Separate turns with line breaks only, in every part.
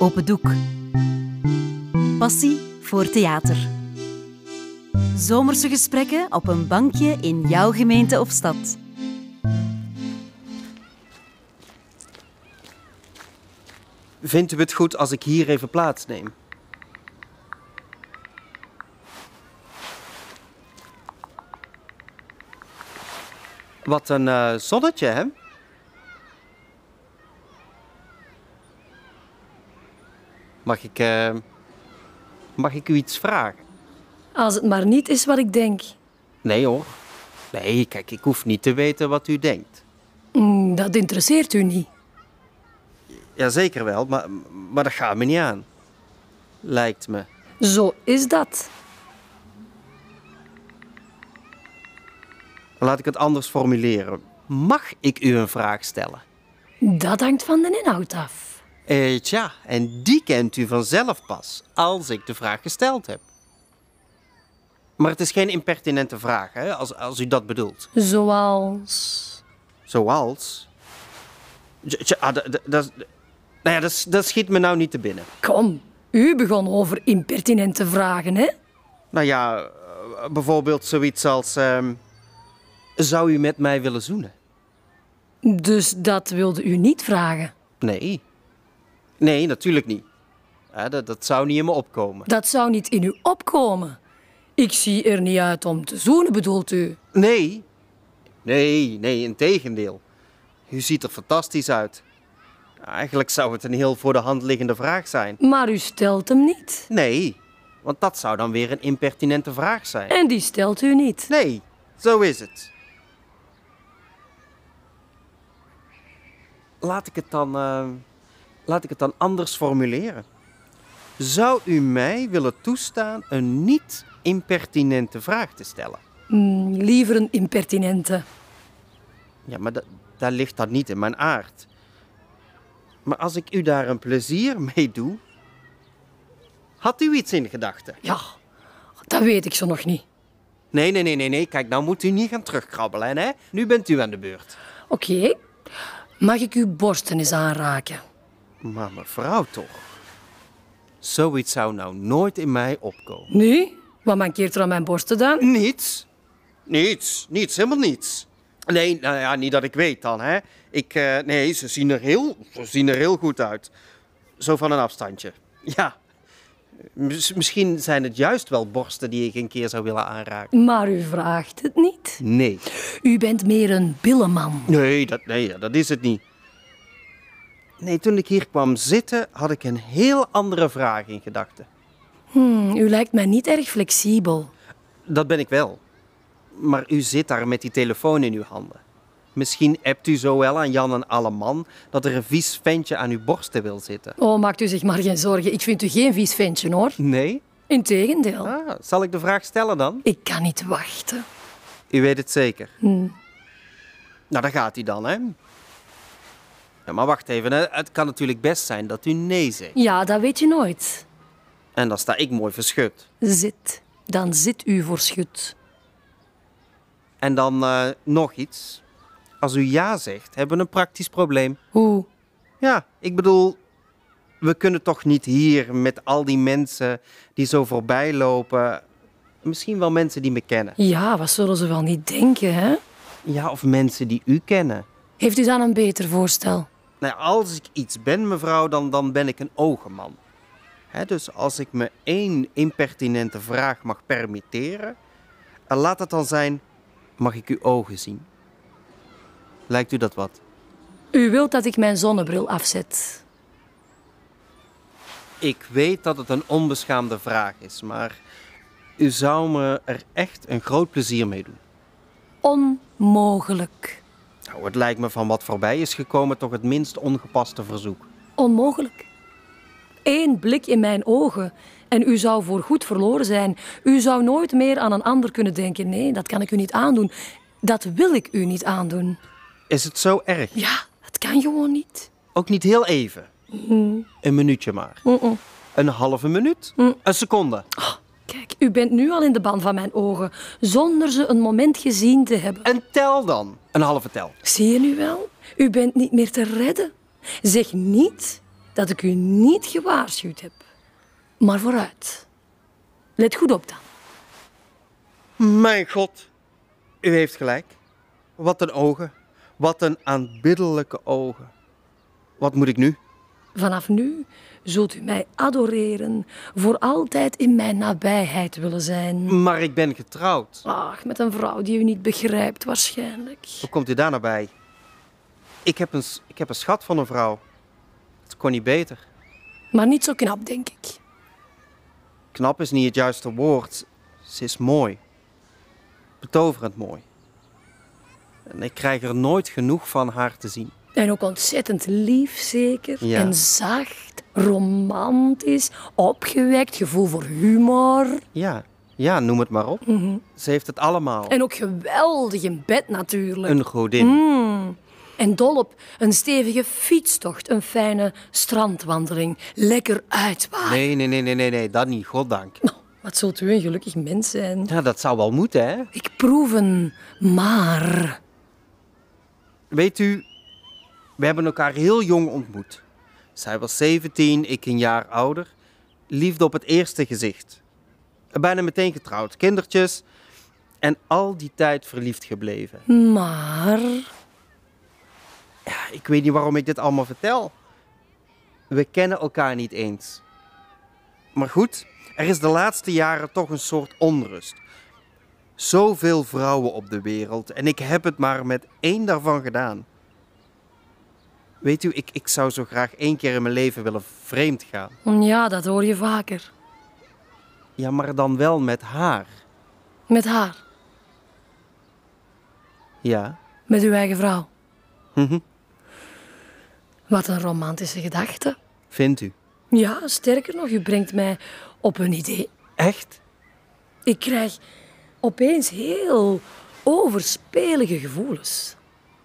Open Doek. Passie voor theater. Zomerse gesprekken op een bankje in jouw gemeente of stad.
Vindt u het goed als ik hier even plaatsneem? Wat een eh, zonnetje, hè? Mag ik, eh, mag ik u iets vragen?
Als het maar niet is wat ik denk.
Nee hoor. Nee, kijk, ik hoef niet te weten wat u denkt.
Mm, Dat interesseert u niet.
Jazeker wel, maar, maar dat gaat me niet aan. Lijkt me.
Zo is dat.
Laat ik het anders formuleren. Mag ik u een vraag stellen?
Dat hangt van de inhoud af.
Eh, tja, en die kent u vanzelf pas als ik de vraag gesteld heb. Maar het is geen impertinente vraag, hè, als, als u dat bedoelt.
Zoals.
Zoals. Tja, tja, ah, dat- dat- dat- nou ja, dat, s- dat schiet me nou niet te binnen.
Kom, u begon over impertinente vragen, hè?
Nou ja, eh, bijvoorbeeld zoiets als. ehm, zou u met mij willen zoenen?
Dus dat wilde u niet vragen.
Nee. Nee, natuurlijk niet. Ja, dat, dat zou niet in me opkomen.
Dat zou niet in u opkomen. Ik zie er niet uit om te zoenen, bedoelt u?
Nee. Nee, nee, integendeel. U ziet er fantastisch uit. Eigenlijk zou het een heel voor de hand liggende vraag zijn.
Maar u stelt hem niet.
Nee, want dat zou dan weer een impertinente vraag zijn.
En die stelt u niet.
Nee, zo is het. Laat ik het dan, eh, laat ik het dan anders formuleren. Zou u mij willen toestaan een niet-impertinente vraag te stellen?
Mm, liever een impertinente.
Ja, maar da- daar ligt dat niet in mijn aard. Maar als ik u daar een plezier mee doe. Had u iets in gedachten?
Ja, dat weet ik zo nog niet.
Nee, nee, nee, nee, nee. Kijk, nou moet u niet gaan terugkrabbelen, hè? Nu bent u aan de beurt.
Oké, mag ik uw borsten eens aanraken?
Maar mevrouw toch? Zoiets zou nou nooit in mij opkomen.
Nu? Wat mankeert er aan mijn borsten dan?
Niets. Niets. Niets. Helemaal niets. Nee, nou ja, niet dat ik weet dan, hè. Ik, eh, nee, ze zien, er heel, ze zien er heel goed uit. Zo van een afstandje. Ja. Mis- misschien zijn het juist wel borsten die ik een keer zou willen aanraken.
Maar u vraagt het niet.
Nee.
U bent meer een billenman.
Nee, dat, nee, ja, dat is het niet. Nee, toen ik hier kwam zitten, had ik een heel andere vraag in gedachten.
Hm, u lijkt mij niet erg flexibel.
Dat ben ik wel. Maar u zit daar met die telefoon in uw handen. Misschien appt u zo wel aan Jan en Alleman dat er een vies ventje aan uw borsten wil zitten.
Oh, maakt u zich maar geen zorgen. Ik vind u geen vies ventje, hoor.
Nee?
Integendeel.
Ah, zal ik de vraag stellen dan?
Ik kan niet wachten.
U weet het zeker. Nou, daar gaat hij dan, hè? Ja, maar wacht even, hè. het kan natuurlijk best zijn dat u nee zegt.
Ja, dat weet je nooit.
En dan sta ik mooi verschut.
Zit. Dan zit u voor schut.
En dan eh, nog iets. Als u ja zegt, hebben we een praktisch probleem.
Hoe?
Ja, ik bedoel, we kunnen toch niet hier met al die mensen die zo voorbij lopen. Misschien wel mensen die me kennen.
Ja, wat zullen ze wel niet denken, hè?
Ja, of mensen die u kennen.
Heeft u dan een beter voorstel?
Nou, als ik iets ben, mevrouw, dan, dan ben ik een ogenman. Hè, dus als ik me één impertinente vraag mag permitteren, eh, laat het dan zijn: mag ik uw ogen zien? Lijkt u dat wat?
U wilt dat ik mijn zonnebril afzet.
Ik weet dat het een onbeschaamde vraag is, maar u zou me er echt een groot plezier mee doen.
Onmogelijk.
Nou, het lijkt me van wat voorbij is gekomen toch het minst ongepaste verzoek.
Onmogelijk. Eén blik in mijn ogen en u zou voorgoed verloren zijn. U zou nooit meer aan een ander kunnen denken. Nee, dat kan ik u niet aandoen. Dat wil ik u niet aandoen.
Is het zo erg?
Ja, het kan gewoon niet.
Ook niet heel even. Een minuutje maar. Een halve minuut? Een seconde.
Kijk, u bent nu al in de ban van mijn ogen, zonder ze een moment gezien te hebben.
En tel dan. Een halve tel.
Zie je nu wel? U bent niet meer te redden. Zeg niet dat ik u niet gewaarschuwd heb. Maar vooruit. Let goed op dan.
Mijn god, u heeft gelijk. Wat een ogen. Wat een aanbiddelijke ogen. Wat moet ik nu?
Vanaf nu zult u mij adoreren, voor altijd in mijn nabijheid willen zijn.
Maar ik ben getrouwd.
Ach, met een vrouw die u niet begrijpt waarschijnlijk.
Hoe komt u daar nou bij? Ik heb een, s- ik heb een schat van een vrouw. Het kon niet beter.
Maar niet zo knap, denk ik.
Knap is niet het juiste woord. Ze is mooi. Betoverend mooi. En ik krijg er nooit genoeg van haar te zien.
En ook ontzettend lief, zeker.
Ja.
En zacht, romantisch, opgewekt, gevoel voor humor.
Ja, ja, noem het maar op. Ze heeft het allemaal.
En ook geweldig in bed natuurlijk.
Een godin.
En dol op een stevige fietstocht, een fijne strandwandeling. Lekker uitwaaien.
Nee, nee, nee, nee, nee, nee, dat niet, goddank.
Nou, wat zult u een gelukkig mens zijn.
Ja, dat zou wel moeten, hè?
Ik proef een maar.
Weet u, we hebben elkaar heel jong ontmoet. Zij was 17, ik een jaar ouder. Liefde op het eerste gezicht. Bijna meteen getrouwd, kindertjes. En al die tijd verliefd gebleven.
Maar...
Ik weet niet waarom ik dit allemaal vertel. We kennen elkaar niet eens. Maar goed, er is de laatste jaren toch een soort onrust. Zoveel vrouwen op de wereld en ik heb het maar met één daarvan gedaan. Weet u, ik, ik zou zo graag één keer in mijn leven willen vreemd gaan.
Mm, Ja, dat hoor je vaker.
Ja, maar dan wel met haar.
Met haar.
Ja.
Met uw eigen vrouw.
Mhm.
Wat een romantische gedachte.
Vindt u?
Ja, sterker nog, u brengt mij op een idee.
Echt?
Ik krijg opeens heel overspelige gevoelens.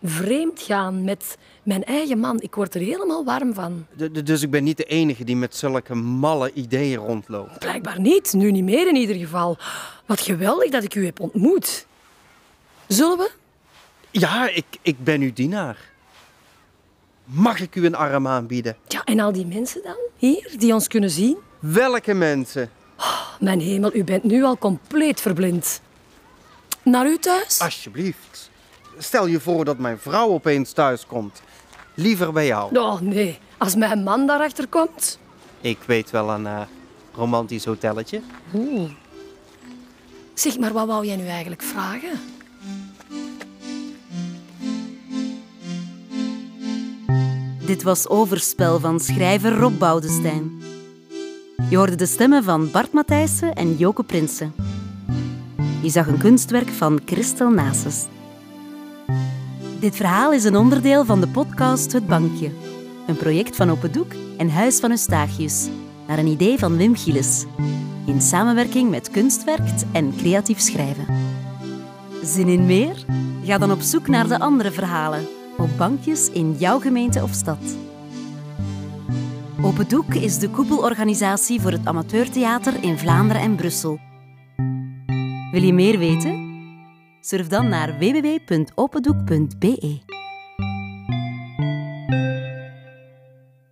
Vreemd gaan met mijn eigen man. Ik word er helemaal warm van.
D- d- dus ik ben niet de enige die met zulke malle ideeën rondloopt.
Blijkbaar niet, nu niet meer in ieder geval. Wat geweldig dat ik u heb ontmoet. Zullen we?
Ja, ik, ik ben uw dienaar. Mag ik u een arm aanbieden?
Ja, en al die mensen dan, hier, die ons kunnen zien?
Welke mensen?
Oh, Mijn hemel, u bent nu al compleet verblind. Naar u thuis?
Alsjeblieft. Stel je voor dat mijn vrouw opeens thuis komt. Liever bij jou.
Oh nee, als mijn man daarachter komt.
Ik weet wel een eh, romantisch hotelletje.
Zeg maar, wat wou jij nu eigenlijk vragen?
Dit was Overspel van schrijver Rob Boudestein. Je hoorde de stemmen van Bart Matthijssen en Joke Prinsen. Je zag een kunstwerk van Christel Nases. Dit verhaal is een onderdeel van de podcast Het Bankje. Een project van Open Doek en Huis van Eustachius. Naar een idee van Wim Gilles. In samenwerking met Kunstwerkt en Creatief Schrijven. Zin in meer? Ga dan op zoek naar de andere verhalen op bankjes in jouw gemeente of stad. Open Doek is de koepelorganisatie voor het amateurtheater in Vlaanderen en Brussel. Wil je meer weten? Surf dan naar www.opendoek.be.